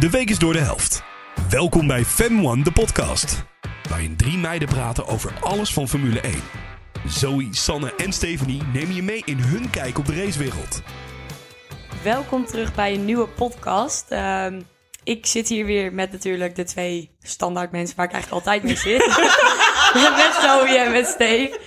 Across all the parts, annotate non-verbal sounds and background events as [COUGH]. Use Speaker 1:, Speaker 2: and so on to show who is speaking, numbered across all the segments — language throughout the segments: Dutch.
Speaker 1: De week is door de helft. Welkom bij Fem One, de podcast. Waarin drie meiden praten over alles van Formule 1. Zoe, Sanne en Stephanie nemen je mee in hun kijk op de racewereld.
Speaker 2: Welkom terug bij een nieuwe podcast. Ehm, ik zit hier weer met natuurlijk de twee standaard mensen waar ik eigenlijk altijd mee zit. [LAUGHS] met Zoe en met Steve.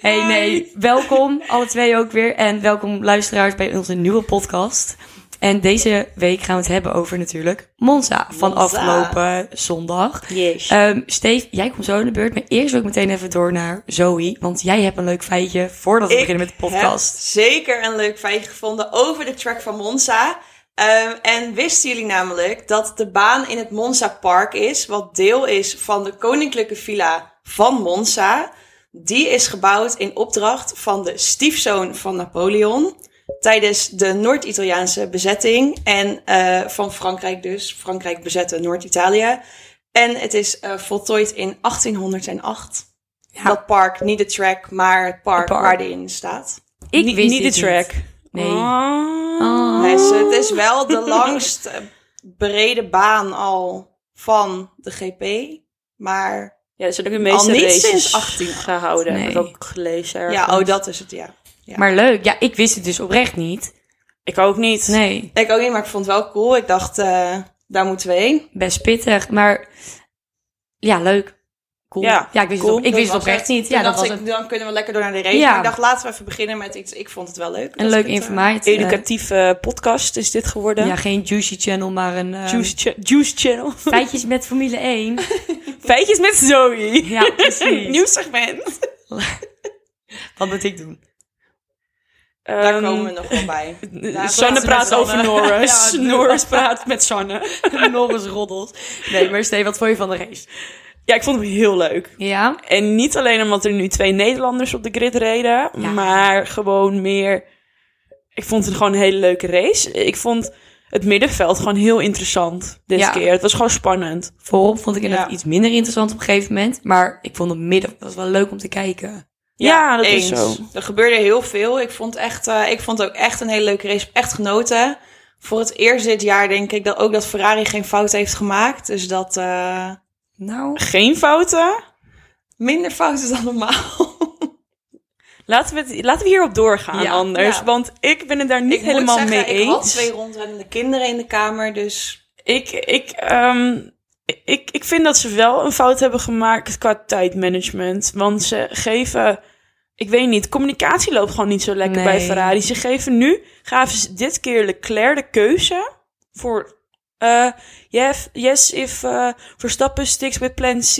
Speaker 2: Hey, nee, welkom alle twee ook weer. En welkom luisteraars bij onze nieuwe podcast. En deze week gaan we het hebben over natuurlijk Monza van
Speaker 3: Monza.
Speaker 2: afgelopen zondag.
Speaker 3: Yes.
Speaker 2: Ehm, Steve, jij komt zo in de beurt. Maar eerst wil ik meteen even door naar Zoe. Want jij hebt een leuk feitje voordat we beginnen met de podcast.
Speaker 3: heb zeker een leuk feitje gevonden over de track van Monza. Ehm, en wisten jullie namelijk dat de baan in het Monza Park is, wat deel is van de koninklijke villa van Monza. Die is gebouwd in opdracht van de stiefzoon van Napoleon tijdens de Noord-Italiaanse bezetting en eh, van Frankrijk dus. Frankrijk bezette Noord-Italië. En het is eh, voltooid in 1808. Dat park, niet de track, maar het park,
Speaker 2: Het park.
Speaker 3: waar die in staat.
Speaker 2: Ik
Speaker 4: Niet-
Speaker 2: wist
Speaker 4: niet
Speaker 2: dit
Speaker 4: de track.
Speaker 2: Nee.
Speaker 4: Oh.
Speaker 3: Mensen, het is wel de [LAUGHS] langst eh, brede baan al van de GP. Maar
Speaker 4: Ja, er zijn ook de meeste
Speaker 3: Al niet
Speaker 4: races
Speaker 3: sinds 18.
Speaker 4: gehouden.
Speaker 2: Nee.
Speaker 4: Heb ik ook gelezen ergens.
Speaker 3: ja, oh, dat is het, ja. Ja.
Speaker 2: Maar leuk, ja, ik wist het dus oprecht niet.
Speaker 4: Ik ook niet.
Speaker 2: Nee,
Speaker 3: Ik ook niet, maar ik vond het wel cool. Ik dacht, eh, daar moeten we heen.
Speaker 2: best pittig, maar ja, leuk. Cool.
Speaker 4: Ja,
Speaker 2: ik wist
Speaker 4: cool.
Speaker 2: het, op- ik
Speaker 3: Dat
Speaker 2: wist het
Speaker 3: was
Speaker 2: oprecht niet. Ja,
Speaker 3: Toen
Speaker 2: dat
Speaker 3: dacht
Speaker 2: was
Speaker 3: ik,
Speaker 2: een,
Speaker 3: Dan kunnen we lekker door naar de race.
Speaker 2: Ja.
Speaker 3: Maar ik dacht, laten we even beginnen met iets. Ik vond het wel leuk.
Speaker 2: een
Speaker 3: Dat
Speaker 2: leuk
Speaker 3: ik het, eh,
Speaker 2: informatie.
Speaker 4: Educatieve podcast is dit geworden.
Speaker 2: ja, geen Juicy Channel, maar een eh, [LAUGHS]
Speaker 4: Juice, cha- Juice
Speaker 3: [LAUGHS]
Speaker 4: Channel.
Speaker 2: feitjes met Formule 1.
Speaker 4: Feitjes met Zoe.
Speaker 2: Ja, [LAUGHS] precies.
Speaker 4: Nieuw
Speaker 3: [LAUGHS]
Speaker 4: segment.
Speaker 2: Wat moet ik doen?
Speaker 3: daar
Speaker 4: Ehm, eh,
Speaker 3: komen we nog wel
Speaker 4: [LAUGHS]
Speaker 3: bij. Daar praten
Speaker 4: Sanne
Speaker 3: we
Speaker 4: praat
Speaker 3: met
Speaker 4: over
Speaker 3: Sanne. [LAUGHS]
Speaker 4: Norris.
Speaker 3: Ja,
Speaker 4: Norris praat met Sanne.
Speaker 2: Norris roddels. Nee, maar Steve, wat vond je van de race?
Speaker 4: Ja, ik vond hem heel leuk.
Speaker 2: Ja,
Speaker 4: En niet alleen omdat er nu twee Nederlanders op de grid reden,
Speaker 2: Ja.
Speaker 4: maar gewoon meer. Ik vond het gewoon een hele leuke race. Ik vond het middenveld gewoon heel interessant dit
Speaker 2: Ja.
Speaker 4: keer. Het was gewoon spannend.
Speaker 2: voorop vond ik inderdaad
Speaker 3: Ja.
Speaker 2: iets minder interessant op een gegeven moment. Maar ik vond het midden, dat was wel leuk om te kijken.
Speaker 4: Ja, dat
Speaker 3: eens.
Speaker 4: is zo.
Speaker 3: Er gebeurde heel veel. Ik vond, echt, eh, ik vond ook echt een hele leuke race. Echt genoten. Voor het eerst dit jaar denk ik dat ook dat Ferrari geen fout heeft gemaakt. Dus dat eh,
Speaker 2: Nou,
Speaker 4: Geen fouten.
Speaker 3: minder fouten dan normaal. [LAUGHS]
Speaker 4: Laten we, het, laten we hierop doorgaan
Speaker 2: Ja,
Speaker 4: anders.
Speaker 3: ja.
Speaker 4: Want ik ben het daar niet
Speaker 3: ik
Speaker 4: helemaal
Speaker 3: moet zeggen,
Speaker 4: mee
Speaker 3: ik had
Speaker 4: eens.
Speaker 3: twee rondrennende kinderen in de kamer. Dus
Speaker 4: Ik, ik, ehm, ik, ik vind dat ze wel een fout hebben gemaakt qua tijdmanagement. Want ze geven, ik weet niet, communicatie loopt gewoon niet zo lekker
Speaker 2: Nee.
Speaker 4: bij Ferrari. Ze geven nu, gaven ze dit keer Leclerc de keuze voor... eh, yes, yes, if eh, Verstappen sticks with plan C,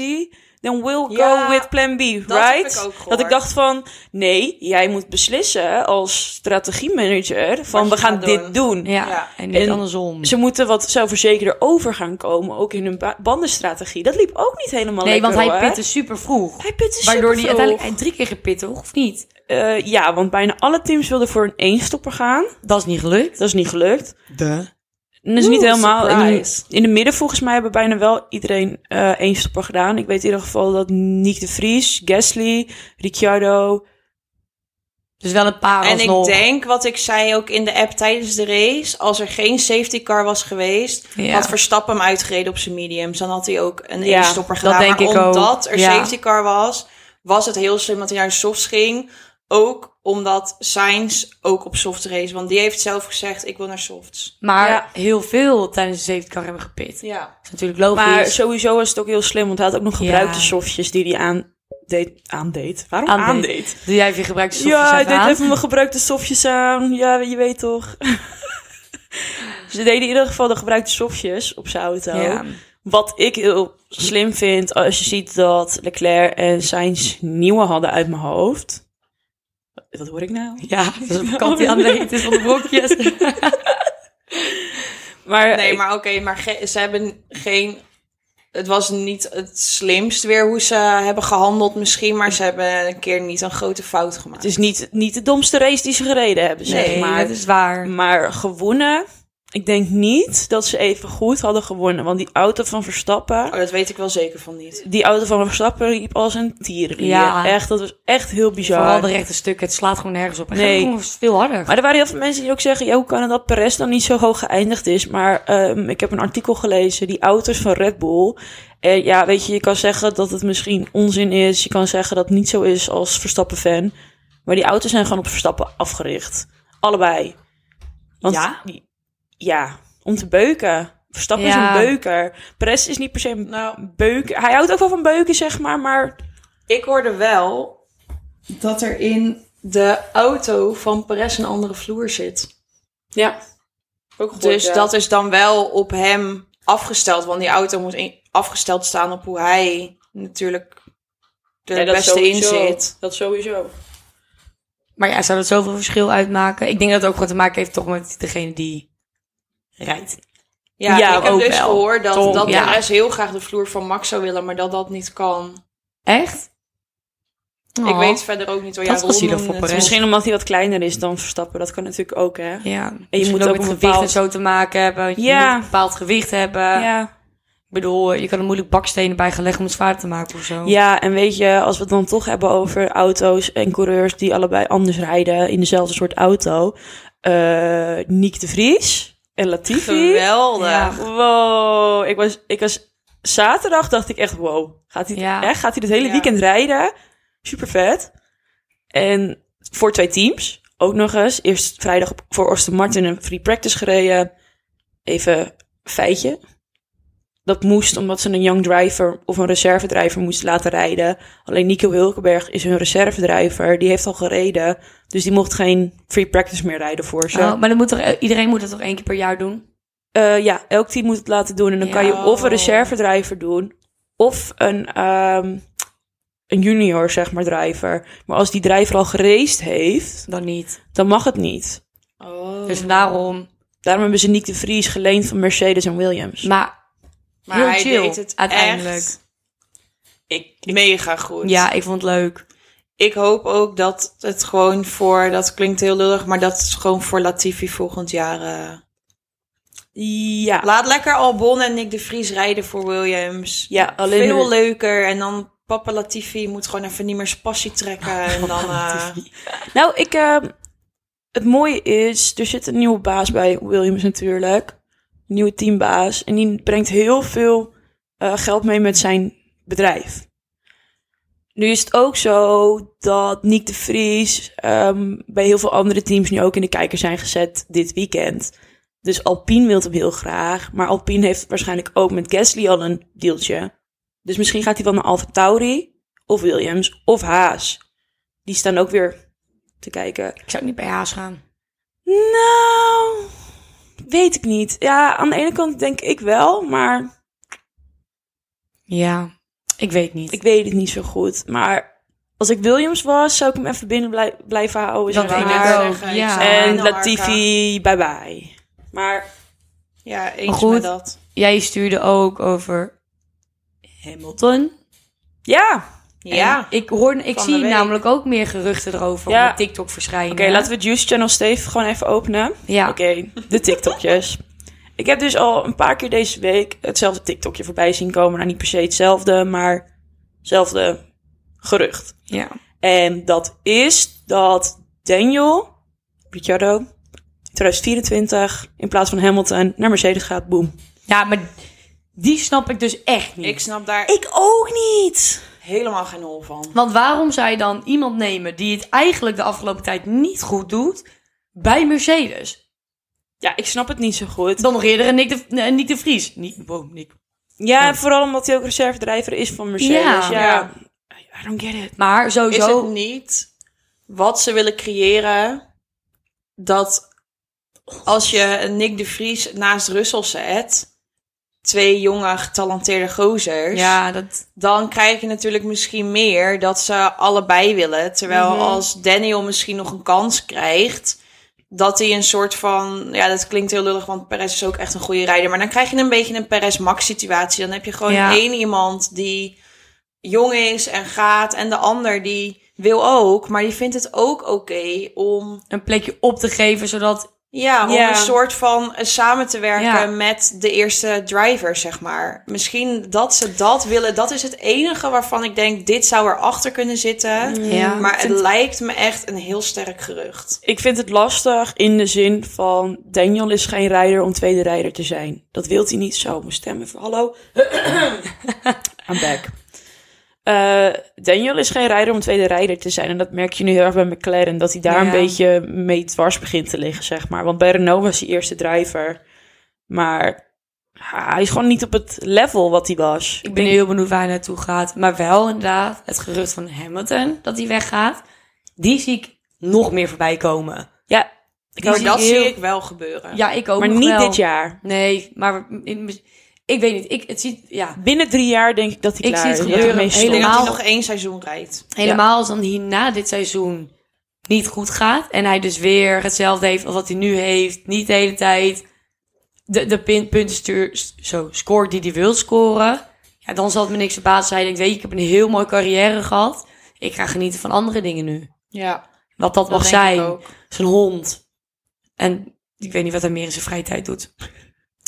Speaker 4: then we'll
Speaker 3: Ja,
Speaker 4: go with plan B,
Speaker 3: dat
Speaker 4: right?
Speaker 3: heb ik ook gehoord.
Speaker 4: dat ik dacht van, nee, jij moet beslissen als strategiemanager van
Speaker 3: Wat
Speaker 4: we
Speaker 3: je
Speaker 4: gaan
Speaker 3: gaat
Speaker 4: dit
Speaker 3: doen.
Speaker 4: doen.
Speaker 2: ja,
Speaker 3: Ja.
Speaker 2: en niet
Speaker 4: En-
Speaker 2: andersom.
Speaker 4: Ze moeten wat zelfverzekerder over gaan komen, ook in hun ba- bandenstrategie. Dat liep ook niet helemaal
Speaker 2: Nee,
Speaker 4: lekker,
Speaker 2: want hij
Speaker 4: hoor.
Speaker 2: pitte super vroeg.
Speaker 4: Hij pitte
Speaker 2: Waardoor die
Speaker 4: supervroeg.
Speaker 2: uiteindelijk hij drie keer gepit, toch? Of niet?
Speaker 4: Eh, ja, want bijna alle teams wilden voor een eenstopper gaan.
Speaker 2: Dat is niet gelukt.
Speaker 4: Dat is niet gelukt.
Speaker 2: De.
Speaker 4: En Dat is
Speaker 3: Oeh,
Speaker 4: niet helemaal... In,
Speaker 3: surprise.
Speaker 4: in de midden volgens mij hebben bijna wel iedereen eh eenstopper gedaan. Ik weet in ieder geval dat Nick de Vries, Gasly, Ricciardo...
Speaker 2: Dus wel een paar
Speaker 3: en
Speaker 2: alsnog.
Speaker 3: ik denk wat ik zei ook in de app tijdens de race. Als er geen safety car was geweest,
Speaker 2: Ja.
Speaker 3: had Verstappen hem uitgereden op zijn mediums. Dan had hij ook een
Speaker 4: Ja,
Speaker 3: eenstopper
Speaker 2: dat
Speaker 3: gedaan.
Speaker 2: denk
Speaker 3: maar
Speaker 2: ik ook.
Speaker 3: omdat er
Speaker 2: Ja.
Speaker 3: safety car was, was het heel slim dat hij naar de softs ging. Ook omdat Sainz ook op soft race. Want die heeft zelf gezegd, ik wil naar softs.
Speaker 2: Maar
Speaker 4: Ja.
Speaker 2: heel veel tijdens de safety car hebben gepit.
Speaker 3: Ja.
Speaker 2: Dat is natuurlijk logisch.
Speaker 4: Maar sowieso was het ook heel slim, want hij had ook nog gebruikte
Speaker 2: Ja.
Speaker 4: softjes die hij aandeed. Aandeed? Waarom
Speaker 2: Aandeed.
Speaker 4: aandeed?
Speaker 2: Doe jij even gebruikte softjes
Speaker 4: Ja, hij
Speaker 2: even
Speaker 4: deed
Speaker 2: aan?
Speaker 4: even mijn gebruikte sofjes aan. Ja, je weet toch. [LAUGHS] Ze deden in ieder geval de gebruikte sofjes op zijn auto.
Speaker 2: Ja.
Speaker 4: Wat ik heel slim vind als je ziet dat Leclerc en Sainz nieuwe hadden uit mijn hoofd. Wat hoor ik nou?
Speaker 2: Ja, dat is op vakantie aan het eten van de brokjes.
Speaker 4: Maar,
Speaker 3: Nee,
Speaker 4: ik-
Speaker 3: maar oké, maar ge- ze hebben geen... Het was niet het slimst weer hoe ze hebben gehandeld misschien. Maar ze hebben een keer niet een grote fout gemaakt.
Speaker 4: het is niet, niet de domste race die ze gereden hebben, zeg
Speaker 2: Nee,
Speaker 4: maar. Mm,
Speaker 2: dat is waar.
Speaker 4: Maar gewonnen Ik denk niet dat ze even goed hadden gewonnen. Want die auto van Verstappen.
Speaker 3: Oh, dat weet ik wel zeker van niet.
Speaker 4: Die auto van Verstappen liep als een tieren.
Speaker 2: Ja.
Speaker 4: Echt, dat was echt heel bizar.
Speaker 2: Vooral de rechte stuk, het slaat gewoon nergens op. En
Speaker 4: Nee.
Speaker 2: nee. gewoon veel harder.
Speaker 4: Maar er waren heel veel mensen die ook zeggen: ja, hoe kan het dat Perez dan niet zo hoog geëindigd is? Maar ehm, ik heb een artikel gelezen, die auto's van Red Bull. En ja, weet je, je kan zeggen dat het misschien onzin is. Je kan zeggen dat het niet zo is als Verstappen-fan. Maar die auto's zijn gewoon op Verstappen afgericht. Allebei. Want
Speaker 3: Ja?
Speaker 4: die- ja, om te beuken. Verstappen is
Speaker 2: Ja.
Speaker 4: een beuker. Perez is niet per se een beuker. Hij houdt ook wel van beuken, zeg maar. Maar
Speaker 3: Ik hoorde wel dat er in de auto van Perez een andere vloer zit.
Speaker 4: ja, ook
Speaker 3: Dus dat is dan wel op hem afgesteld. Want die auto moet in- afgesteld staan op hoe hij natuurlijk er het beste in zit.
Speaker 4: Dat sowieso.
Speaker 2: Maar ja, zou dat zoveel verschil uitmaken? Ik denk dat het ook wat te maken heeft toch met degene die rijdt.
Speaker 3: Ja,
Speaker 4: Ja,
Speaker 3: ik heb
Speaker 4: ook
Speaker 3: dus
Speaker 4: wel.
Speaker 3: gehoord dat,
Speaker 4: Tom,
Speaker 3: dat
Speaker 2: ja.
Speaker 3: Perez heel graag de vloer van Max zou willen, maar dat dat niet kan.
Speaker 2: Echt?
Speaker 3: Ik
Speaker 2: Oh.
Speaker 3: weet verder ook niet waar
Speaker 2: Dat
Speaker 3: jij
Speaker 2: was zielig voor Perez.
Speaker 4: Misschien omdat hij wat kleiner is dan Verstappen. Dat kan natuurlijk ook, hè?
Speaker 2: Ja. En
Speaker 4: je
Speaker 2: je
Speaker 4: moet
Speaker 2: moet ook,
Speaker 4: ook
Speaker 2: met
Speaker 4: een
Speaker 2: gewicht
Speaker 4: bepaald-
Speaker 2: en zo te maken hebben. want Je
Speaker 4: Ja.
Speaker 2: moet een bepaald gewicht hebben.
Speaker 4: Ja.
Speaker 2: Ik bedoel, je kan er moeilijk bakstenen bij gaan leggen om het zwaarder te maken of zo.
Speaker 4: ja, en weet je, als we het dan toch hebben over auto's en coureurs die allebei anders rijden in dezelfde soort auto. eh Nick de Vries en Latifi.
Speaker 3: Geweldig.
Speaker 2: Ja.
Speaker 4: Wow, ik was, ik was zaterdag dacht ik echt wow, gaat hij,
Speaker 2: Ja.
Speaker 4: echt, gaat hij dit hele
Speaker 3: Ja.
Speaker 4: weekend rijden? Super vet. En voor twee teams, ook nog eens. Eerst vrijdag op- voor Aston Martin een free practice gereden. Even feitje. Dat moest omdat ze een young driver of een reservedrijver moest laten rijden. Alleen Nico Hulkenberg is hun reservedrijver. Die heeft al gereden. Dus die mocht geen free practice meer rijden voor ze.
Speaker 2: Oh, maar dan moet toch, iedereen moet dat toch één keer per jaar doen?
Speaker 4: Eh, ja, elk team moet het laten doen. En dan kan je
Speaker 3: Ja.
Speaker 4: of een reservedrijver doen, of een, ehm, een junior, zeg maar, drijver. Maar als die drijver al geraced heeft,
Speaker 2: Dan niet.
Speaker 4: dan mag het niet.
Speaker 3: Oh.
Speaker 2: Dus daarom.
Speaker 4: Daarom hebben ze Nick de Vries geleend van Mercedes en Williams.
Speaker 3: Nou,
Speaker 2: Maar
Speaker 3: maar
Speaker 2: heel
Speaker 3: hij
Speaker 2: chill,
Speaker 3: deed het
Speaker 2: uiteindelijk.
Speaker 3: echt ik, mega goed.
Speaker 2: ja, ik vond het leuk.
Speaker 3: ik hoop ook dat het gewoon voor, dat klinkt heel lullig, maar dat is gewoon voor Latifi volgend jaar. eh,
Speaker 4: ja,
Speaker 3: Laat lekker Albon en Nick de Vries rijden voor Williams.
Speaker 4: ja, alleen
Speaker 3: Veel
Speaker 4: maar-
Speaker 3: leuker. En dan papa Latifi moet gewoon even niet meer zijn passie
Speaker 4: [LAUGHS]
Speaker 3: trekken. En dan, eh,
Speaker 4: Nou, ik, ehm, het mooie is, er zit een nieuwe baas bij Williams natuurlijk. Een nieuwe teambaas. En die brengt heel veel eh, geld mee met zijn bedrijf. Nu is het ook zo dat Nick de Vries ehm, bij heel veel andere teams nu ook in de kijker zijn gezet dit weekend. Dus Alpine wil hem heel graag. Maar Alpine heeft waarschijnlijk ook met Gasly al een deeltje. Dus misschien gaat hij wel naar Alfa Tauri of Williams of Haas. Die staan ook weer te kijken.
Speaker 2: Ik zou niet bij Haas gaan.
Speaker 4: Nou, weet ik niet. Ja, aan de ene kant denk ik wel, maar
Speaker 2: Ja, ik weet niet.
Speaker 4: ik weet het niet zo goed. Maar als ik Williams was, zou ik hem even binnen blij- blijven houden.
Speaker 2: Dat
Speaker 4: zeg
Speaker 3: wou ik
Speaker 4: maar.
Speaker 3: net
Speaker 2: Maar-
Speaker 3: zeggen, ik
Speaker 2: ja.
Speaker 3: zou
Speaker 4: En
Speaker 3: naar Arca.
Speaker 4: Latifi, bye bye. Maar
Speaker 3: Ja,
Speaker 2: Maar
Speaker 3: eens
Speaker 2: goed.
Speaker 3: met dat.
Speaker 2: Jij stuurde ook over Hamilton.
Speaker 4: ja, oké,
Speaker 3: Ja.
Speaker 2: En ik hoor, ik
Speaker 3: Van
Speaker 2: zie
Speaker 3: de week.
Speaker 2: namelijk ook meer geruchten erover
Speaker 4: Ja.
Speaker 2: op de TikTok verschijnen.
Speaker 4: laten we Juice Channel Steve gewoon even openen.
Speaker 2: Ja.
Speaker 4: Oké, de TikTokjes. ik heb dus al een paar keer deze week hetzelfde TikTokje voorbij zien komen. Nou, niet per se hetzelfde, maar hetzelfde gerucht.
Speaker 2: Ja.
Speaker 4: En dat is dat Daniel Ricciardo in 2024 in plaats van Hamilton naar Mercedes gaat. Boom.
Speaker 2: ja, maar die snap ik dus echt niet.
Speaker 3: Ik snap daar
Speaker 4: Ik ook niet.
Speaker 3: helemaal geen hol van.
Speaker 2: Want waarom zou je dan iemand nemen die het eigenlijk de afgelopen tijd niet goed doet bij Mercedes?
Speaker 4: Ja, ik snap het niet zo goed.
Speaker 2: Dan nog eerder een Nick de, nee, Nick de Vries. Nick, wow, Nick.
Speaker 4: Ja, en vooral omdat hij ook reservedrijver is van Mercedes.
Speaker 2: Ja.
Speaker 4: Ja.
Speaker 3: Ja.
Speaker 4: I don't get it.
Speaker 2: Maar
Speaker 3: Is
Speaker 2: sowieso...
Speaker 3: het niet wat ze willen creëren dat als je een Nick de Vries naast Russell zet, twee jonge getalenteerde gozers,
Speaker 2: ja, dat...
Speaker 3: dan krijg je natuurlijk misschien meer dat ze allebei willen. Terwijl als Daniel misschien nog een kans krijgt, dat hij een soort van, ja, dat klinkt heel lullig, want Perez is ook echt een goede rijder. Maar dan krijg je een beetje een Perez-Max situatie. Dan heb je gewoon
Speaker 2: Ja.
Speaker 3: één iemand die jong is en gaat en de ander die wil ook, maar die vindt het ook oké om
Speaker 2: een plekje op te geven, zodat
Speaker 3: Ja, om
Speaker 2: Ja.
Speaker 3: een soort van eh, samen te werken
Speaker 2: Ja.
Speaker 3: met de eerste driver, zeg maar. Misschien dat ze dat willen. Dat is het enige waarvan ik denk, dit zou erachter kunnen zitten.
Speaker 2: Ja.
Speaker 3: Maar het
Speaker 4: Vind-
Speaker 3: lijkt me echt een heel sterk gerucht.
Speaker 4: Ik vind het lastig in de zin van Daniel is geen rijder om tweede rijder te zijn. Dat wilt hij niet zo. Mijn stem
Speaker 2: [CLEARS THROAT]
Speaker 4: even. Hallo. I'm back. Eh, Daniel is geen rijder om tweede rijder te zijn. En dat merk je nu heel erg bij McLaren. Dat hij daar
Speaker 2: Ja.
Speaker 4: een beetje mee dwars begint te liggen, zeg maar. Want bij Renault was hij eerste driver. Maar ah, hij is gewoon niet op het level wat hij was.
Speaker 2: Ik ben heel benieuwd waar hij naartoe gaat. Maar wel inderdaad, het gerucht van Hamilton dat hij weggaat. Die zie ik nog meer voorbij komen.
Speaker 4: Ja, ik
Speaker 2: Die
Speaker 3: Maar
Speaker 4: had-
Speaker 2: zie
Speaker 3: Nou, dat
Speaker 2: ik
Speaker 3: zie
Speaker 2: heel-
Speaker 3: ik wel gebeuren.
Speaker 2: Ja, ik ook
Speaker 4: maar
Speaker 2: nog
Speaker 4: niet
Speaker 2: wel.
Speaker 4: dit jaar.
Speaker 2: Nee, maar in- ik weet niet. Ik, het ziet, ja,
Speaker 4: Binnen drie jaar denk ik dat hij
Speaker 2: Ik
Speaker 4: klaar
Speaker 2: zie het
Speaker 4: is.
Speaker 2: gebeuren.
Speaker 4: Dat het meest
Speaker 3: Ik denk dat hij
Speaker 2: Normaal-
Speaker 3: nog één seizoen rijdt.
Speaker 2: helemaal als dan hierna dit seizoen niet goed gaat. En hij dus weer hetzelfde heeft als wat hij nu heeft. Niet de hele tijd de, de pin, punten stuur, s- zo, scoort die hij wil scoren. Ja, dan zal het me niks verbazen. als Hij denkt, weet je, ik heb een heel mooie carrière gehad. Ik ga genieten van andere dingen nu.
Speaker 3: Ja,
Speaker 2: Wat dat,
Speaker 3: dat
Speaker 2: mag
Speaker 3: denk ik
Speaker 2: zijn.
Speaker 3: ook.
Speaker 2: Zijn hond. En ik weet niet wat hij meer in zijn vrije tijd doet.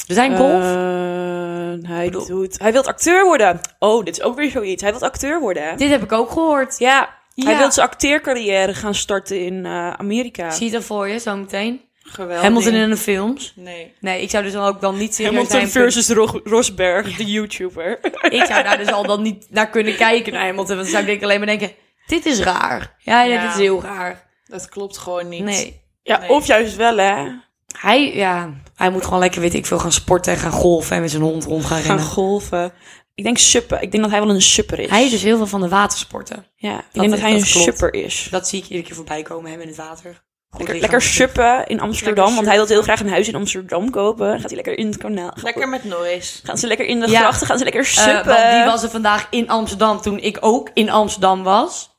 Speaker 2: Er zijn golf.
Speaker 4: Eh, hij,
Speaker 2: bedoel-
Speaker 4: doet, hij wil acteur worden. Oh, dit is ook weer zoiets. Hij wil acteur worden. hè?
Speaker 2: Dit heb ik ook gehoord.
Speaker 4: Ja, hij
Speaker 2: Ja.
Speaker 4: wil zijn acteercarrière gaan starten in eh, Amerika.
Speaker 2: Zie je dat voor je zo meteen?
Speaker 3: Geweldig.
Speaker 2: Hamilton in de films.
Speaker 3: Nee.
Speaker 2: Nee, ik zou dus dan ook dan niet serieus
Speaker 4: Hamilton
Speaker 2: zijn. punt.
Speaker 4: versus Ro- Rosberg, de YouTuber. [LAUGHS]
Speaker 2: Ik zou daar dus al dan niet naar kunnen kijken naar Hamilton. Want dan zou ik denk ik alleen maar denken, dit is raar. Ja, ja,
Speaker 3: Ja.
Speaker 2: dit is heel raar.
Speaker 3: Dat klopt gewoon niet.
Speaker 2: Nee.
Speaker 4: ja,
Speaker 3: Nee.
Speaker 4: of juist wel, hè?
Speaker 2: Hij, ja, hij moet gewoon lekker, weet ik veel, gaan sporten en gaan golfen en met zijn hond rond gaan
Speaker 4: Gaan
Speaker 2: rennen.
Speaker 4: golven. Ik denk suppen. Ik denk dat hij wel een supper is.
Speaker 2: Hij is dus heel veel van de watersporten.
Speaker 4: Ja, ik denk dat hij
Speaker 2: dat
Speaker 4: een
Speaker 2: klopt.
Speaker 4: supper is.
Speaker 2: Dat zie ik iedere keer voorbij komen, hem in het water. Goed
Speaker 4: Lekker,
Speaker 2: lichaam
Speaker 4: lekker
Speaker 2: natuurlijk.
Speaker 4: suppen in Amsterdam,
Speaker 2: Lekker
Speaker 4: want hij wil heel graag een huis in Amsterdam kopen. Gaat hij lekker in het kanaal.
Speaker 3: Lekker met noise.
Speaker 4: Gaan ze lekker in de
Speaker 2: Ja.
Speaker 4: grachten, gaan ze lekker
Speaker 2: Eh,
Speaker 4: suppen.
Speaker 2: want die was er vandaag in Amsterdam toen ik ook in Amsterdam was.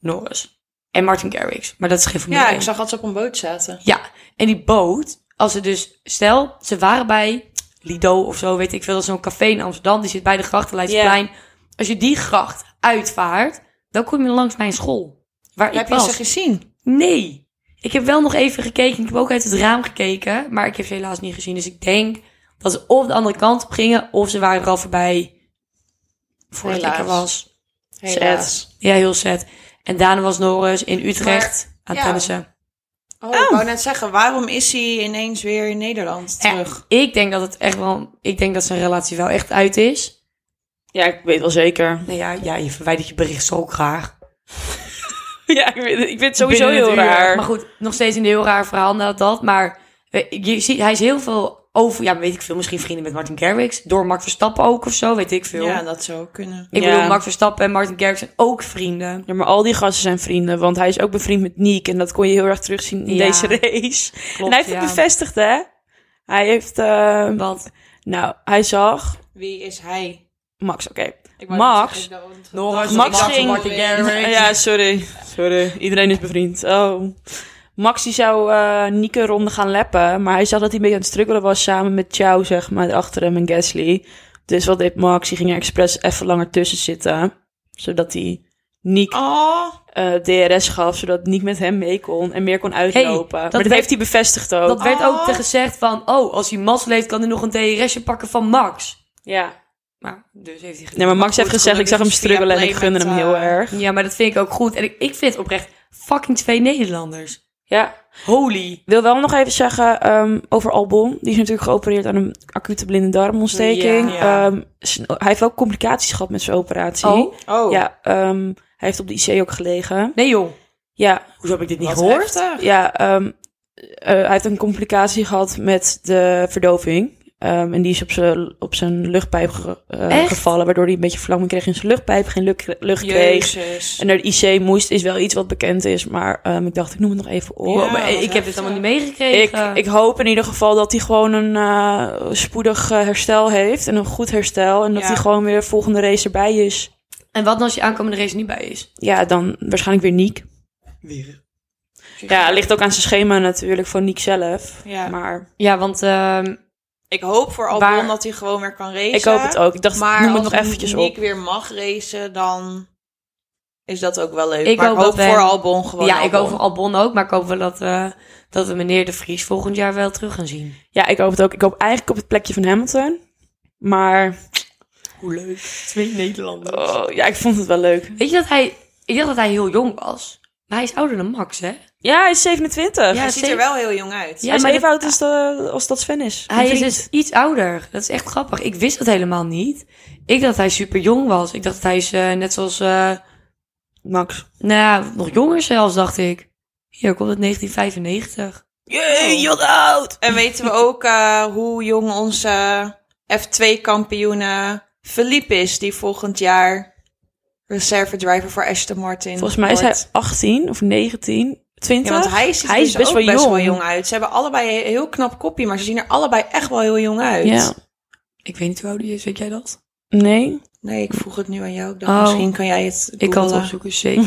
Speaker 2: Norris. En Martin Garrix. Maar dat is geen familie.
Speaker 3: Ja, ik zag dat ze op een boot zaten.
Speaker 2: Ja, en die boot, als ze dus, stel, ze waren bij Lido of zo, weet ik veel, dat is zo'n café in Amsterdam, die zit bij de Grachtenleidsplein. Als je die gracht uitvaart, dan kom je langs mijn school. Waar
Speaker 3: Heb
Speaker 2: ik
Speaker 3: je
Speaker 2: was.
Speaker 3: ze gezien?
Speaker 2: Nee. Ik heb wel nog even gekeken, ik heb ook uit het raam gekeken, maar ik heb ze helaas niet gezien. Dus ik denk dat ze of de andere kant op gingen, of ze waren er al voorbij voordat ik er
Speaker 3: Helaas.
Speaker 2: was.
Speaker 3: Helaas.
Speaker 2: Ja, heel zet. En daarna was Norris in Utrecht aan
Speaker 3: ja.
Speaker 2: tennissen.
Speaker 3: Oh, ik wou net zeggen, waarom is hij ineens weer in Nederland
Speaker 2: Ja,
Speaker 3: terug?
Speaker 2: ik denk dat het echt wel. Ik denk dat zijn relatie wel echt uit is.
Speaker 4: Ja, ik weet wel zeker.
Speaker 2: Nou ja, ja je verwijdert je bericht zo graag.
Speaker 4: [LAUGHS] Ja, ik vind, ik vind het sowieso
Speaker 2: Binnen
Speaker 4: heel
Speaker 2: het uur.
Speaker 4: raar.
Speaker 2: Maar goed, nog steeds een heel raar verhaal na dat. Maar eh, je ziet, hij is heel veel over. Ja, weet ik veel. Misschien vrienden met Martin Garrix. Door Max Verstappen ook of zo, weet ik veel.
Speaker 3: Ja, dat zou kunnen.
Speaker 2: ik
Speaker 4: Ja.
Speaker 2: bedoel, Max Verstappen en Martin Garrix zijn ook vrienden.
Speaker 4: Ja, maar al die gasten zijn vrienden, want hij is ook bevriend met Nick. En dat kon je heel erg terugzien in
Speaker 2: Ja.
Speaker 4: deze race. en hij heeft
Speaker 2: ja.
Speaker 4: het bevestigd, hè? Hij heeft, eh,
Speaker 2: Want
Speaker 4: nou, hij zag
Speaker 3: Wie is hij?
Speaker 4: Max, oké.
Speaker 3: Ik wou net
Speaker 4: Max,
Speaker 3: zeggen, ik dacht-
Speaker 2: Norris,
Speaker 3: dacht-
Speaker 4: Max
Speaker 3: dacht-
Speaker 4: ging-
Speaker 2: Martin Garrix.
Speaker 4: Ja, sorry. Sorry. Iedereen is bevriend. Oh. Max die zou eh Nieke een ronde gaan lappen. Maar hij zag dat hij een beetje aan het struggelen was samen met Chow, zeg maar, achter hem en Gasly. Dus wat deed Max? Die ging er expres even langer tussen zitten. Zodat hij Niek
Speaker 3: Oh,
Speaker 4: eh, DRS gaf. Zodat Niek met hem mee kon en meer kon uitlopen.
Speaker 2: dat
Speaker 4: maar dat
Speaker 2: werd-
Speaker 4: heeft hij bevestigd ook.
Speaker 2: dat werd ook
Speaker 3: Oh.
Speaker 2: te gezegd van... Oh, als hij Mas leeft, kan hij nog een DRS'je pakken van Max.
Speaker 4: Ja.
Speaker 2: Maar dus heeft hij
Speaker 4: Nee, maar Max
Speaker 3: goed,
Speaker 4: heeft gezegd, ik zag hem
Speaker 3: gelukkig is
Speaker 4: struggelen en
Speaker 3: fair
Speaker 4: ik
Speaker 3: play
Speaker 4: gunde hem
Speaker 3: met,
Speaker 4: heel
Speaker 3: eh,
Speaker 4: erg.
Speaker 2: Ja, maar dat vind ik ook goed. En ik, ik vind het oprecht fucking twee Nederlanders.
Speaker 4: Ja.
Speaker 2: Holy.
Speaker 4: wil wel nog even zeggen ehm, over Albon. Die is natuurlijk geopereerd aan een acute blinde darmontsteking.
Speaker 2: Ja.
Speaker 3: Ja.
Speaker 4: Ehm, s- hij heeft ook complicaties gehad met zijn operatie.
Speaker 2: Oh?
Speaker 3: oh.
Speaker 4: Ja, ehm, hij heeft op de IC ook gelegen.
Speaker 2: Nee joh.
Speaker 4: Ja,
Speaker 2: Hoezo heb ik dit niet
Speaker 3: wat
Speaker 2: gehoord?
Speaker 3: heftig.
Speaker 4: ja ehm, eh, hij heeft een complicatie gehad met de verdoving. Ehm, en die is op zijn, op zijn luchtpijp ge- eh,
Speaker 2: Echt?
Speaker 4: gevallen, waardoor hij een beetje verlamming kreeg in zijn luchtpijp, geen lucht, lucht kreeg.
Speaker 3: Jezus.
Speaker 4: En naar de IC moest, is wel iets wat bekend is, maar ehm, ik dacht, ik noem het nog even op.
Speaker 2: Wow, maar
Speaker 3: wat
Speaker 2: ik heb dit
Speaker 3: heftig.
Speaker 2: allemaal niet meegekregen.
Speaker 4: Ik, ik hoop in ieder geval dat hij gewoon een eh, spoedig eh, herstel heeft en een goed herstel. En dat
Speaker 3: Ja.
Speaker 4: hij gewoon weer volgende race erbij is.
Speaker 2: En wat nou als je aankomende race niet bij is?
Speaker 4: Ja, dan waarschijnlijk weer Niek.
Speaker 2: Weer.
Speaker 4: Ja, ligt ook aan zijn schema natuurlijk van Niek zelf.
Speaker 3: Ja.
Speaker 4: Maar
Speaker 2: Ja, want ehm,
Speaker 3: Ik hoop voor Albon
Speaker 2: Waar-
Speaker 3: dat hij gewoon weer kan racen.
Speaker 4: ik hoop het ook. Ik dacht,
Speaker 3: Maar
Speaker 4: noem
Speaker 3: als
Speaker 4: het nog eventjes
Speaker 3: Nick
Speaker 4: op.
Speaker 3: weer mag racen, dan is dat ook wel leuk.
Speaker 2: Ik
Speaker 3: maar
Speaker 2: hoop
Speaker 3: ik hoop
Speaker 2: dat we-
Speaker 3: voor Albon gewoon
Speaker 2: ja, ik
Speaker 3: Albon.
Speaker 2: hoop voor Albon ook, maar ik hoop wel dat, we dat we meneer De Vries volgend jaar wel terug gaan zien.
Speaker 4: Ja, ik hoop het ook. Ik hoop eigenlijk op het plekje van Hamilton. Maar
Speaker 2: Hoe leuk. Twee Nederlanders.
Speaker 4: oh, ja, ik vond het wel leuk.
Speaker 2: Weet je dat hij... Ik dacht dat hij heel jong was. Maar hij is ouder dan Max, hè?
Speaker 4: Ja, hij is 27.
Speaker 2: Ja,
Speaker 3: Hij ziet er wel heel jong uit.
Speaker 2: Ja,
Speaker 4: hij is
Speaker 2: maar
Speaker 4: even
Speaker 2: dat-
Speaker 4: oud als, de- als dat Sven is.
Speaker 2: Hij is
Speaker 4: Vriend.
Speaker 2: dus iets ouder. Dat is echt grappig. Ik wist dat helemaal niet. Ik dacht dat hij super jong was. Ik dacht dat hij is eh, net zoals... eh,
Speaker 4: Max.
Speaker 2: nou ja, nog jonger zelfs, dacht ik. Hier komt het 1995.
Speaker 4: Jee, je wat oud!
Speaker 3: En weten we ook eh, hoe jong onze F2-kampioen eh, Philippe is, die volgend jaar reserve driver voor Aston Martin
Speaker 4: Volgens mij is hij
Speaker 3: wordt.
Speaker 4: 18 of 19, 20.
Speaker 3: Ja, want hij ziet er
Speaker 4: Hij is
Speaker 3: dus
Speaker 4: best
Speaker 3: ook
Speaker 4: wel
Speaker 3: best
Speaker 4: jong.
Speaker 3: wel jong uit. Ze hebben allebei een heel knap kopje, maar ze zien er allebei echt wel heel jong uit.
Speaker 4: Ja.
Speaker 2: Ik weet niet hoe oud hij is, weet jij dat?
Speaker 4: Nee.
Speaker 3: Nee, ik vroeg het nu aan jou. Ik dacht,
Speaker 2: Oh.
Speaker 3: misschien kan jij het
Speaker 2: Ik kan eh, het
Speaker 3: googlen.
Speaker 2: opzoeken, [LAUGHS] zeker.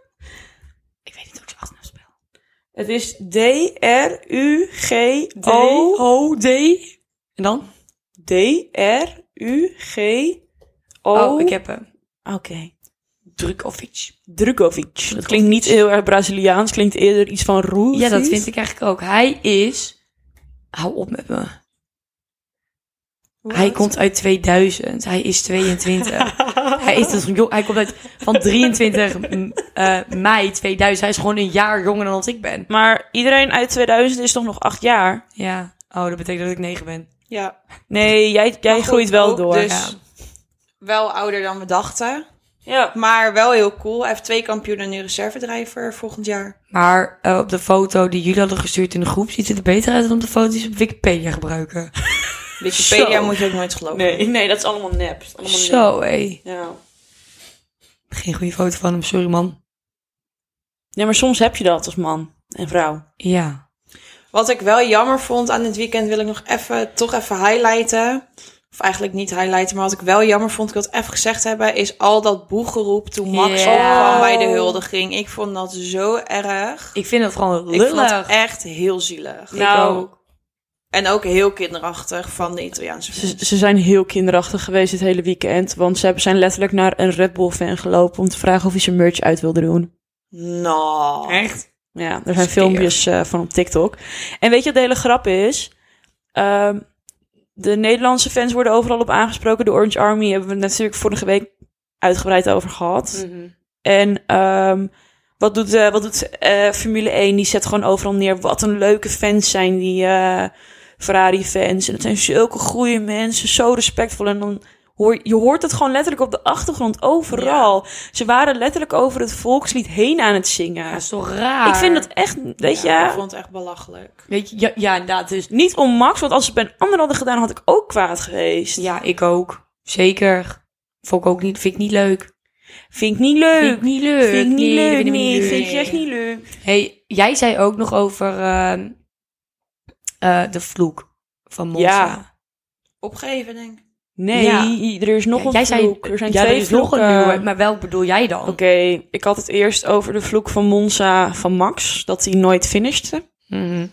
Speaker 3: [LAUGHS]
Speaker 2: ik weet niet hoe ik zijn achternaam spel.
Speaker 4: Het is D-R-U-G-O...
Speaker 2: O, D. En dan?
Speaker 4: D-R-U-G-O...
Speaker 2: Oh, ik heb hem.
Speaker 4: Oké.
Speaker 2: Drukovic.
Speaker 4: Drukovic. Dat klinkt niet heel erg Braziliaans. Klinkt eerder iets van roes.
Speaker 2: Ja, dat vind ik eigenlijk ook. Hij is... Hou op met me.
Speaker 3: Hoe
Speaker 2: Hij
Speaker 3: oud?
Speaker 2: komt uit 2000. Hij is [LAUGHS] 22. hij, is dus jong, hij komt uit van 23 m- eh, mei 2000. Hij is gewoon een jaar jonger dan als ik ben.
Speaker 4: Maar iedereen uit 2000 is toch nog acht jaar?
Speaker 2: Ja. Oh, dat betekent dat ik 9 ben.
Speaker 3: Ja,
Speaker 4: Nee, jij,
Speaker 3: Maar
Speaker 4: jij
Speaker 3: goed,
Speaker 4: groeit wel
Speaker 3: ook
Speaker 4: door.
Speaker 3: dus-
Speaker 2: Ja.
Speaker 3: wel ouder dan we dachten.
Speaker 4: Ja.
Speaker 3: Maar wel heel cool. F2-kampioen en nu reservedrijver volgend jaar.
Speaker 2: Maar eh, op de foto die jullie hadden gestuurd in de groep ziet het er beter uit dan op de foto die ze op Wikipedia gebruiken.
Speaker 3: Wikipedia
Speaker 4: Zo.
Speaker 3: moet je ook nooit geloven.
Speaker 4: Nee, nee, dat is allemaal nep. Dat is allemaal nep.
Speaker 2: Zo, hé.
Speaker 4: Ja.
Speaker 2: Geen goede foto van hem, sorry man.
Speaker 4: Nee, maar soms heb je dat als man en vrouw.
Speaker 2: Ja.
Speaker 3: Wat ik wel jammer vond aan dit weekend wil ik nog even, toch even highlighten. Of eigenlijk niet highlighten, maar wat ik wel jammer vond, ik wil het even gezegd hebben, is al dat boegeroep toen Max
Speaker 2: Ja.
Speaker 3: opkwam bij de huldiging. Ik vond dat zo erg.
Speaker 2: Ik vind dat gewoon
Speaker 3: Ik vond
Speaker 2: lullig.
Speaker 3: het echt heel zielig.
Speaker 2: Ik
Speaker 4: Nou.
Speaker 2: ook.
Speaker 3: En ook heel kinderachtig van de Italiaanse fans.
Speaker 4: Ze, ze zijn heel kinderachtig geweest dit hele weekend. Want ze hebben- zijn letterlijk naar een Red Bull fan gelopen om te vragen of hij zijn merch uit wilde doen.
Speaker 3: Nou.
Speaker 2: Echt?
Speaker 4: Ja, er zijn
Speaker 2: Skeer.
Speaker 4: filmpjes eh, van op TikTok. En weet je wat de hele grap is? Ehm, de Nederlandse fans worden overal op aangesproken. De Orange Army hebben we natuurlijk vorige week uitgebreid over gehad. En ehm, wat doet, eh, wat doet eh, Formule 1? Die zet gewoon overal neer. Wat een leuke fans zijn die eh, Ferrari-fans. En het zijn zulke goede mensen, zo respectvol. En dan hoor je hoort het gewoon letterlijk op de achtergrond, overal. Ze waren letterlijk over het volkslied heen aan het zingen.
Speaker 2: Ja, is toch raar?
Speaker 4: Ik vind dat echt, weet
Speaker 3: Ja, Ik
Speaker 4: je,
Speaker 3: vond het echt belachelijk.
Speaker 2: Weet je, ja, ja inderdaad. Dus
Speaker 4: niet om Max. Want als ze het bij een ander hadden gedaan, had ik ook kwaad geweest.
Speaker 2: Ja, ik ook. Zeker. Vond ik ook niet, vind ik niet leuk.
Speaker 4: Vind ik niet leuk.
Speaker 2: Vind ik niet leuk.
Speaker 4: Vind ik niet
Speaker 2: Nee,
Speaker 4: leuk.
Speaker 2: vind ik niet
Speaker 4: Nee,
Speaker 2: leuk.
Speaker 4: vind ik echt niet leuk.
Speaker 2: Hey, jij zei ook nog over ehm, eh, de vloek van Monza.
Speaker 4: Ja.
Speaker 3: Opgeven, denk ik.
Speaker 4: Nee,
Speaker 2: Ja.
Speaker 4: er is nog
Speaker 2: Ja,
Speaker 4: een
Speaker 2: jij
Speaker 4: vloek.
Speaker 2: zei,
Speaker 4: Er zijn
Speaker 2: ja,
Speaker 4: twee
Speaker 2: er is nog een
Speaker 4: vloeken.
Speaker 2: nieuwe. Maar welk bedoel jij dan?
Speaker 4: Oké, ik had het eerst over de vloek van Monza van Max. Dat hij nooit finishte.
Speaker 2: Mhm.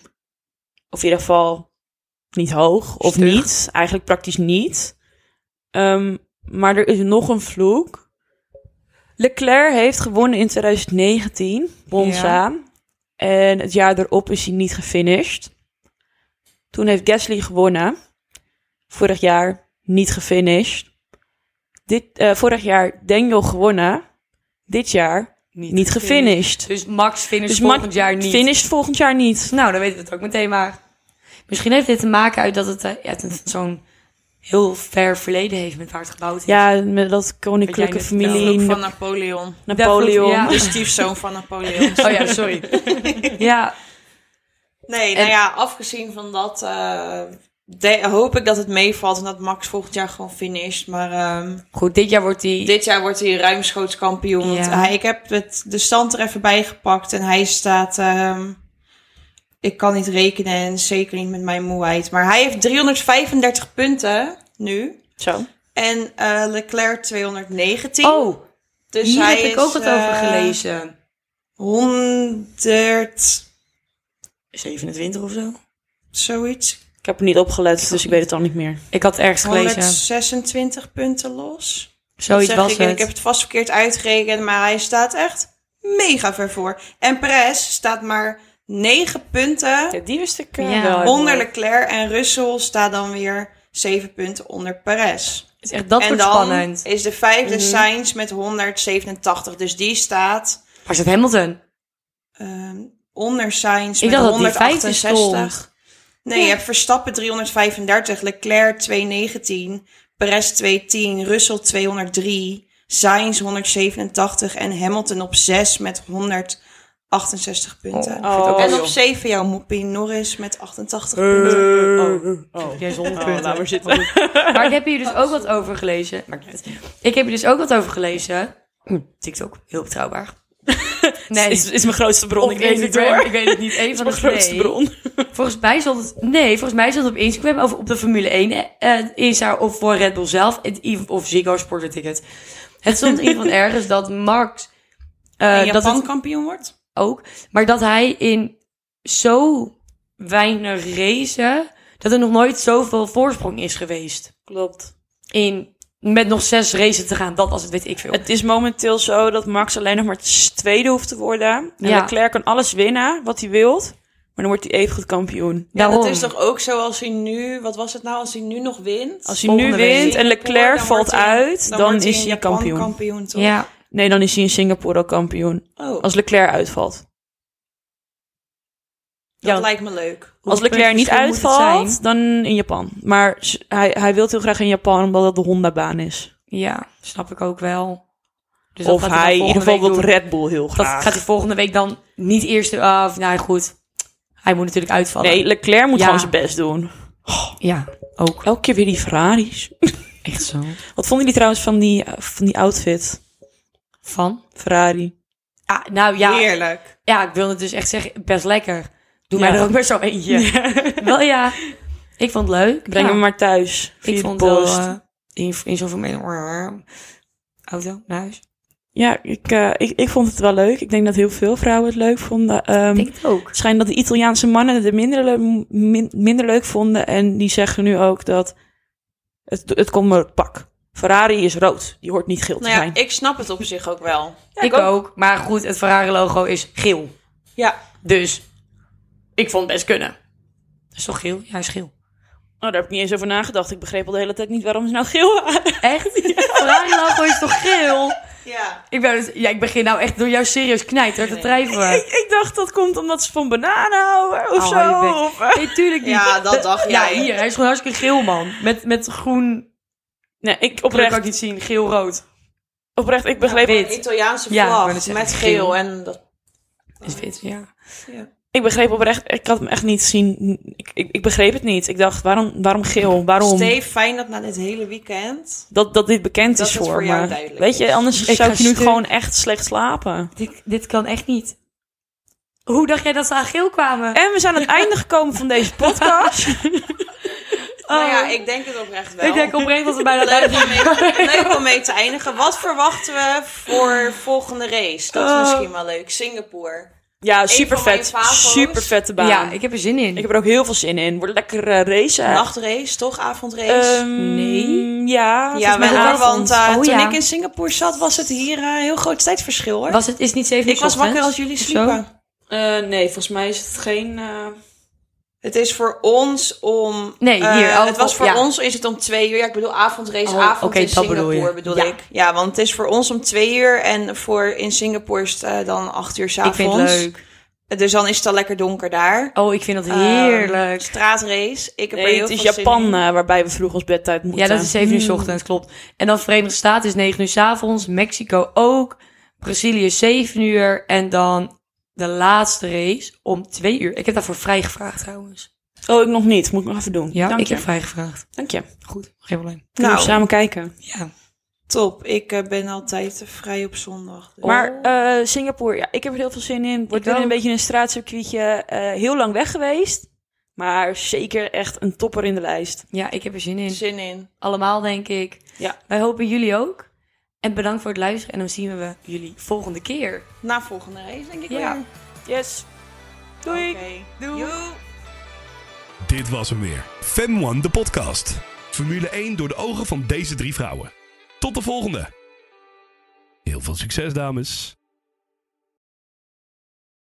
Speaker 4: Of in ieder geval niet hoog. Of
Speaker 2: Stug.
Speaker 4: niet. Eigenlijk praktisch niet. Ehm, maar er is nog een vloek. Leclerc heeft gewonnen in 2019. Monza. En het jaar daarop is hij niet gefinished. Toen heeft Gasly gewonnen. Vorig jaar niet gefinished. Dit, eh, vorig jaar Daniel gewonnen. Dit jaar niet, gefinished.
Speaker 2: Dus Max finish
Speaker 4: Dus
Speaker 2: volgend
Speaker 4: Max
Speaker 2: jaar niet.
Speaker 4: Finished volgend jaar niet.
Speaker 2: Nou, dan weten we het ook meteen maar. Misschien heeft dit te maken uit dat het, eh, ja, het een- zo'n heel ver verleden heeft met waar het gebouwd is.
Speaker 4: Ja, met dat koninklijke
Speaker 2: Wat jij net
Speaker 4: familie,
Speaker 3: Vloek
Speaker 4: Na-
Speaker 3: van Napoleon.
Speaker 4: Napoleon.
Speaker 2: Ja.
Speaker 3: De stiefzoon van
Speaker 2: [LAUGHS]
Speaker 3: Napoleon.
Speaker 2: Oh ja, sorry. ja,
Speaker 3: Nee,
Speaker 2: En-
Speaker 3: nou ja, afgezien van dat eh, de- hoop ik dat het meevalt en dat Max volgend jaar gewoon finisht. Maar ehm,
Speaker 2: goed, dit jaar wordt die...
Speaker 3: dit jaar wordt hij ruimschoots kampioen. Want
Speaker 2: Ja.
Speaker 3: hij, ik heb het, de stand er even bij gepakt en hij staat... ehm, ik kan niet rekenen en zeker niet met mijn moeheid. Maar hij heeft 335 punten nu.
Speaker 4: Zo.
Speaker 3: En eh, Leclerc 219.
Speaker 2: Oh,
Speaker 3: dus
Speaker 2: Hier
Speaker 3: hij
Speaker 2: heb ik
Speaker 3: is,
Speaker 2: ook wat over
Speaker 3: eh,
Speaker 2: gelezen.
Speaker 3: 100
Speaker 2: 27 of zo?
Speaker 3: zoiets.
Speaker 4: Ik heb er niet op gelet, dus ik weet het al niet meer.
Speaker 2: Ik had ergens gelezen.
Speaker 3: 126 punten los.
Speaker 2: Zoiets
Speaker 3: zeg
Speaker 2: was
Speaker 3: ik, en
Speaker 2: het.
Speaker 3: ik heb het vast verkeerd uitgerekend, maar hij staat echt mega ver voor. En Perez staat maar 9 punten
Speaker 4: Ja, die wist ik
Speaker 2: Ja.
Speaker 4: ja. wel. uit
Speaker 3: onder
Speaker 4: mijn hoofd.
Speaker 3: Leclerc. En Russell staat dan weer 7 punten onder Perez.
Speaker 2: Het is echt, dat
Speaker 3: en
Speaker 2: wordt
Speaker 3: dan
Speaker 2: spannend. Mhm.
Speaker 3: is de vijfde Sainz met 187. Dus die staat
Speaker 2: Waar zit Hamilton?
Speaker 3: ehm, onder Sainz
Speaker 2: Ik
Speaker 3: met
Speaker 2: dacht dat die vijfde
Speaker 3: 168.
Speaker 2: stond.
Speaker 3: Nee, je hebt Verstappen 335, Leclerc 219, Perez 210, Russell 203, Sainz 187 en Hamilton op 6 met 168
Speaker 2: Oh, ik
Speaker 3: punten.
Speaker 2: vind het ook
Speaker 3: en
Speaker 2: wel
Speaker 3: op
Speaker 2: jong.
Speaker 3: 7 jouw moppie Norris met
Speaker 4: Eh,
Speaker 3: 88 punten.
Speaker 4: Oh,
Speaker 2: Jij zonder
Speaker 4: oh,
Speaker 2: punten.
Speaker 4: laat maar zitten.
Speaker 2: Maar ik heb hier dus ook wat over
Speaker 4: [LAUGHS]
Speaker 2: gelezen. Maar ik- ik heb hier dus ook wat over gelezen. TikTok, heel
Speaker 4: [LAUGHS]
Speaker 2: betrouwbaar. [LAUGHS] Nee,
Speaker 4: is, is mijn grootste bron,
Speaker 2: op
Speaker 4: ik weet het niet
Speaker 2: Instagram,
Speaker 4: hoor.
Speaker 2: ik weet het niet. Een
Speaker 4: [LAUGHS] Is
Speaker 2: van de
Speaker 4: mijn grootste
Speaker 2: twee.
Speaker 4: bron.
Speaker 2: Volgens mij stond het, nee, volgens mij stond het op Instagram of op de Formule 1 eh, Insta of voor Red Bull zelf het- of Ziggo Sporter Ticket. Het stond in ieder
Speaker 4: [LAUGHS]
Speaker 2: geval ergens dat Max eh,
Speaker 3: en
Speaker 2: dat
Speaker 3: Japan
Speaker 2: het
Speaker 3: kampioen wordt?
Speaker 2: ook, maar dat hij in zo weinig racen dat er nog nooit zoveel voorsprong is geweest.
Speaker 4: Klopt.
Speaker 2: In met nog zes races te gaan, dat als het weet ik veel.
Speaker 4: Het is momenteel zo dat Max alleen nog maar tweede hoeft te worden. En
Speaker 2: Ja.
Speaker 4: Leclerc kan alles winnen wat hij wilt. Maar dan wordt hij even goed kampioen.
Speaker 3: Ja,
Speaker 2: Daarom.
Speaker 3: dat is toch ook zo als hij nu, wat was het nou, als hij nu nog wint?
Speaker 4: Als hij
Speaker 2: Volgende
Speaker 4: nu
Speaker 2: week.
Speaker 4: wint en Leclerc
Speaker 3: Dan
Speaker 4: valt
Speaker 3: wordt hij-
Speaker 4: uit, dan,
Speaker 3: wordt
Speaker 4: is
Speaker 3: in
Speaker 4: hij
Speaker 3: Japan
Speaker 4: kampioen.
Speaker 3: toch?
Speaker 2: ja.
Speaker 4: Nee, dan is hij in Singapore al kampioen.
Speaker 3: Oh,
Speaker 4: Als Leclerc uitvalt.
Speaker 3: dat
Speaker 4: ja.
Speaker 3: lijkt me leuk.
Speaker 4: Als
Speaker 2: Hoeveel
Speaker 4: Leclerc niet
Speaker 2: punten verschil moet het
Speaker 4: uitvalt, dan in Japan. Maar s- hij, hij wil heel graag in Japan, omdat dat de Honda-baan is.
Speaker 2: Ja, snap ik ook wel. Dus dat
Speaker 4: of
Speaker 2: gaat dan
Speaker 4: hij, in
Speaker 2: volgende
Speaker 4: ieder geval
Speaker 2: week
Speaker 4: wil
Speaker 2: doen.
Speaker 4: Red Bull heel
Speaker 2: Dat
Speaker 4: graag.
Speaker 2: gaat hij volgende week dan niet eerst... eh, of nou ja, goed, hij moet natuurlijk uitvallen.
Speaker 4: nee, Leclerc moet
Speaker 2: Ja.
Speaker 4: gewoon zijn best doen.
Speaker 2: Ja, ook.
Speaker 4: Elke keer weer die [LAUGHS] Ferraris.
Speaker 2: Echt zo.
Speaker 4: Wat vonden jullie trouwens van die, van die outfit?
Speaker 2: Van?
Speaker 4: Ferrari.
Speaker 2: Ah, nou ja,
Speaker 3: Heerlijk.
Speaker 2: ja, ik wil het dus echt zeggen, best lekker. Doe
Speaker 4: Ja.
Speaker 2: mij er ook maar zo
Speaker 4: [LAUGHS]
Speaker 2: eentje. wel ja, ik vond het leuk.
Speaker 4: Breng
Speaker 2: ja.
Speaker 4: hem maar thuis. Via
Speaker 2: Ik
Speaker 4: de
Speaker 2: vond
Speaker 4: post.
Speaker 2: wel, eh, in, in zoveel meer... Auto, naar huis.
Speaker 4: Ja, ik, eh, ik, ik vond het wel leuk. Ik denk dat heel veel vrouwen het leuk vonden. Ehm,
Speaker 2: Ik denk het ook.
Speaker 4: Het schijnt dat de Italiaanse mannen het minder, le- min- minder leuk vonden. En die zeggen nu ook dat het, het komt maar het pak. Ferrari is rood. Die hoort niet geel te
Speaker 3: Nou ja,
Speaker 4: zijn.
Speaker 3: ik snap het op zich ook wel.
Speaker 2: ik ook. Maar goed, het Ferrari-logo is geel.
Speaker 3: Ja,
Speaker 2: Dus ik vond het best kunnen. Dat is toch geel? Ja, hij is geel.
Speaker 4: Oh, daar heb ik niet eens over nagedacht. Ik begreep al de hele tijd niet waarom ze nou geel waren.
Speaker 2: [LAUGHS] Echt? Ferrari-logo is toch geel?
Speaker 3: ja.
Speaker 2: Ik, ben, dus- ja, ik begin nou echt door jou serieus knijter te
Speaker 3: Nee.
Speaker 2: drijven.
Speaker 4: ik,
Speaker 2: [LAUGHS]
Speaker 4: ik dacht dat komt omdat ze van bananen houden of
Speaker 2: Oh,
Speaker 4: zo.
Speaker 2: je bek.
Speaker 4: Of, eh.
Speaker 2: Nee, tuurlijk niet.
Speaker 3: Ja, dat dacht
Speaker 2: Ja,
Speaker 3: jij.
Speaker 2: hier. Hij is gewoon hartstikke geel, man. Met, met groen,
Speaker 4: Nee,
Speaker 2: dat
Speaker 4: ik
Speaker 2: kan ik
Speaker 4: oprecht,
Speaker 2: niet zien. Geel-rood.
Speaker 4: oprecht ik begreep,
Speaker 2: wit.
Speaker 3: Een Italiaanse
Speaker 2: Ja, ik
Speaker 3: vlag
Speaker 2: wou net zeggen,
Speaker 3: met geel
Speaker 2: geel.
Speaker 3: en dat...
Speaker 2: Is wit, ja.
Speaker 4: ik begreep oprecht, ik had hem echt niet zien. Ik, ik, ik begreep het niet. Ik dacht, waarom, waarom geel? Waarom?
Speaker 3: Steve, fijn dat na dit hele weekend...
Speaker 4: dat, dat dit bekend
Speaker 3: Dat
Speaker 4: is
Speaker 3: het
Speaker 4: voor,
Speaker 3: voor jou
Speaker 4: me.
Speaker 3: duidelijk
Speaker 4: Weet je,
Speaker 3: is.
Speaker 4: anders
Speaker 2: Ik
Speaker 4: zou
Speaker 2: ga
Speaker 4: ik nu
Speaker 2: stuk.
Speaker 4: gewoon echt slecht slapen.
Speaker 2: Dit, dit kan echt niet. Hoe dacht jij dat ze aan geel kwamen?
Speaker 4: En we zijn aan het einde gekomen van deze podcast.
Speaker 3: Nou ja, ik denk het oprecht wel.
Speaker 2: Oh. Ik denk oprecht dat we bijna
Speaker 3: Leuk
Speaker 2: daar
Speaker 3: om, mee, leuk om mee te eindigen. Wat verwachten we voor volgende race? Dat is
Speaker 4: Oh.
Speaker 3: misschien wel leuk. Singapore.
Speaker 4: [LAUGHS] Ja, super
Speaker 3: van mijn
Speaker 4: vet.
Speaker 3: favo's.
Speaker 4: Super vette
Speaker 2: [LAUGHS]
Speaker 4: baan.
Speaker 2: Ja,
Speaker 4: ik...
Speaker 2: ik heb er zin in.
Speaker 4: heb er ook heel veel zin in. Wordt lekker eh, racen.
Speaker 3: Nachtrace, toch? Avondrace?
Speaker 4: Ehm,
Speaker 2: Nee.
Speaker 4: Ja,
Speaker 3: ja, wel
Speaker 4: volgens mij
Speaker 3: hoor, want
Speaker 4: avond.
Speaker 3: eh,
Speaker 2: Oh,
Speaker 3: toen
Speaker 2: ja.
Speaker 3: ik in Singapore zat, was het hier eh, een heel groot tijdsverschil hoor.
Speaker 2: Was het is niet 7 uur
Speaker 3: ik was
Speaker 2: ochtends,
Speaker 3: wakker als jullie
Speaker 2: of zo?
Speaker 3: sliepen.
Speaker 4: Eh, nee, volgens mij is het geen... eh,
Speaker 3: Het is voor ons om.
Speaker 2: Nee,
Speaker 3: eh,
Speaker 2: hier, oh,
Speaker 3: het was voor
Speaker 2: ja.
Speaker 3: ons is het om twee uur. Ja, ik bedoel avondrace,
Speaker 2: Oh,
Speaker 3: avond
Speaker 2: oké,
Speaker 3: in
Speaker 2: dat bedoel
Speaker 3: Singapore
Speaker 2: je.
Speaker 3: bedoel,
Speaker 2: Ja.
Speaker 3: ik. Ja, want het is voor ons om twee uur en voor in Singapore is het eh, dan acht uur 's
Speaker 2: Ik
Speaker 3: avonds.
Speaker 2: vind het leuk.
Speaker 3: Dus dan is het al lekker donker daar.
Speaker 2: Oh, ik vind dat
Speaker 3: Ehm,
Speaker 2: heerlijk.
Speaker 3: straatrace. Ik heb er
Speaker 4: nee,
Speaker 3: heel
Speaker 4: het is
Speaker 3: veel zin
Speaker 4: Japan
Speaker 3: in.
Speaker 4: eh, waarbij we vroeg ons bedtijd moeten.
Speaker 2: ja, dat is 7 uur 's ochtends, klopt. En dan Verenigde Staten is 9 uur 's avonds, Mexico ook, Brazilië is 7 uur en dan de laatste race om 2 uur. Ik heb daarvoor vrijgevraagd trouwens.
Speaker 4: Oh, ik nog niet. Moet ik nog even doen.
Speaker 2: Ja,
Speaker 4: Dank
Speaker 2: ik
Speaker 4: je.
Speaker 2: heb vrijgevraagd.
Speaker 4: Dank je.
Speaker 2: Goed, geen probleem.
Speaker 4: Kunnen we
Speaker 3: Nou,
Speaker 4: samen kijken.
Speaker 2: Ja.
Speaker 3: top. Ik eh, ben altijd vrij op zondag. Dus.
Speaker 4: Maar eh, Singapore, ja, ik heb er heel veel zin in. Wordt
Speaker 2: Ik
Speaker 4: weer een
Speaker 2: ook.
Speaker 4: beetje een straatcircuitje. eh, heel lang weg geweest. Maar zeker echt een topper in de lijst.
Speaker 2: ja, ik heb er zin in.
Speaker 3: zin in.
Speaker 2: Allemaal, denk ik.
Speaker 4: Ja.
Speaker 2: Wij hopen jullie ook. En bedankt voor het luisteren en dan zien we jullie volgende keer.
Speaker 3: Na volgende race denk ik
Speaker 2: Ja.
Speaker 3: weer.
Speaker 4: Yes. Doei.
Speaker 3: Oké.
Speaker 2: Doei.
Speaker 3: Joe.
Speaker 1: Dit was hem weer. Fem One, de podcast. Formule 1 door de ogen van deze drie vrouwen. Tot Tot de volgende. Heel veel succes, dames.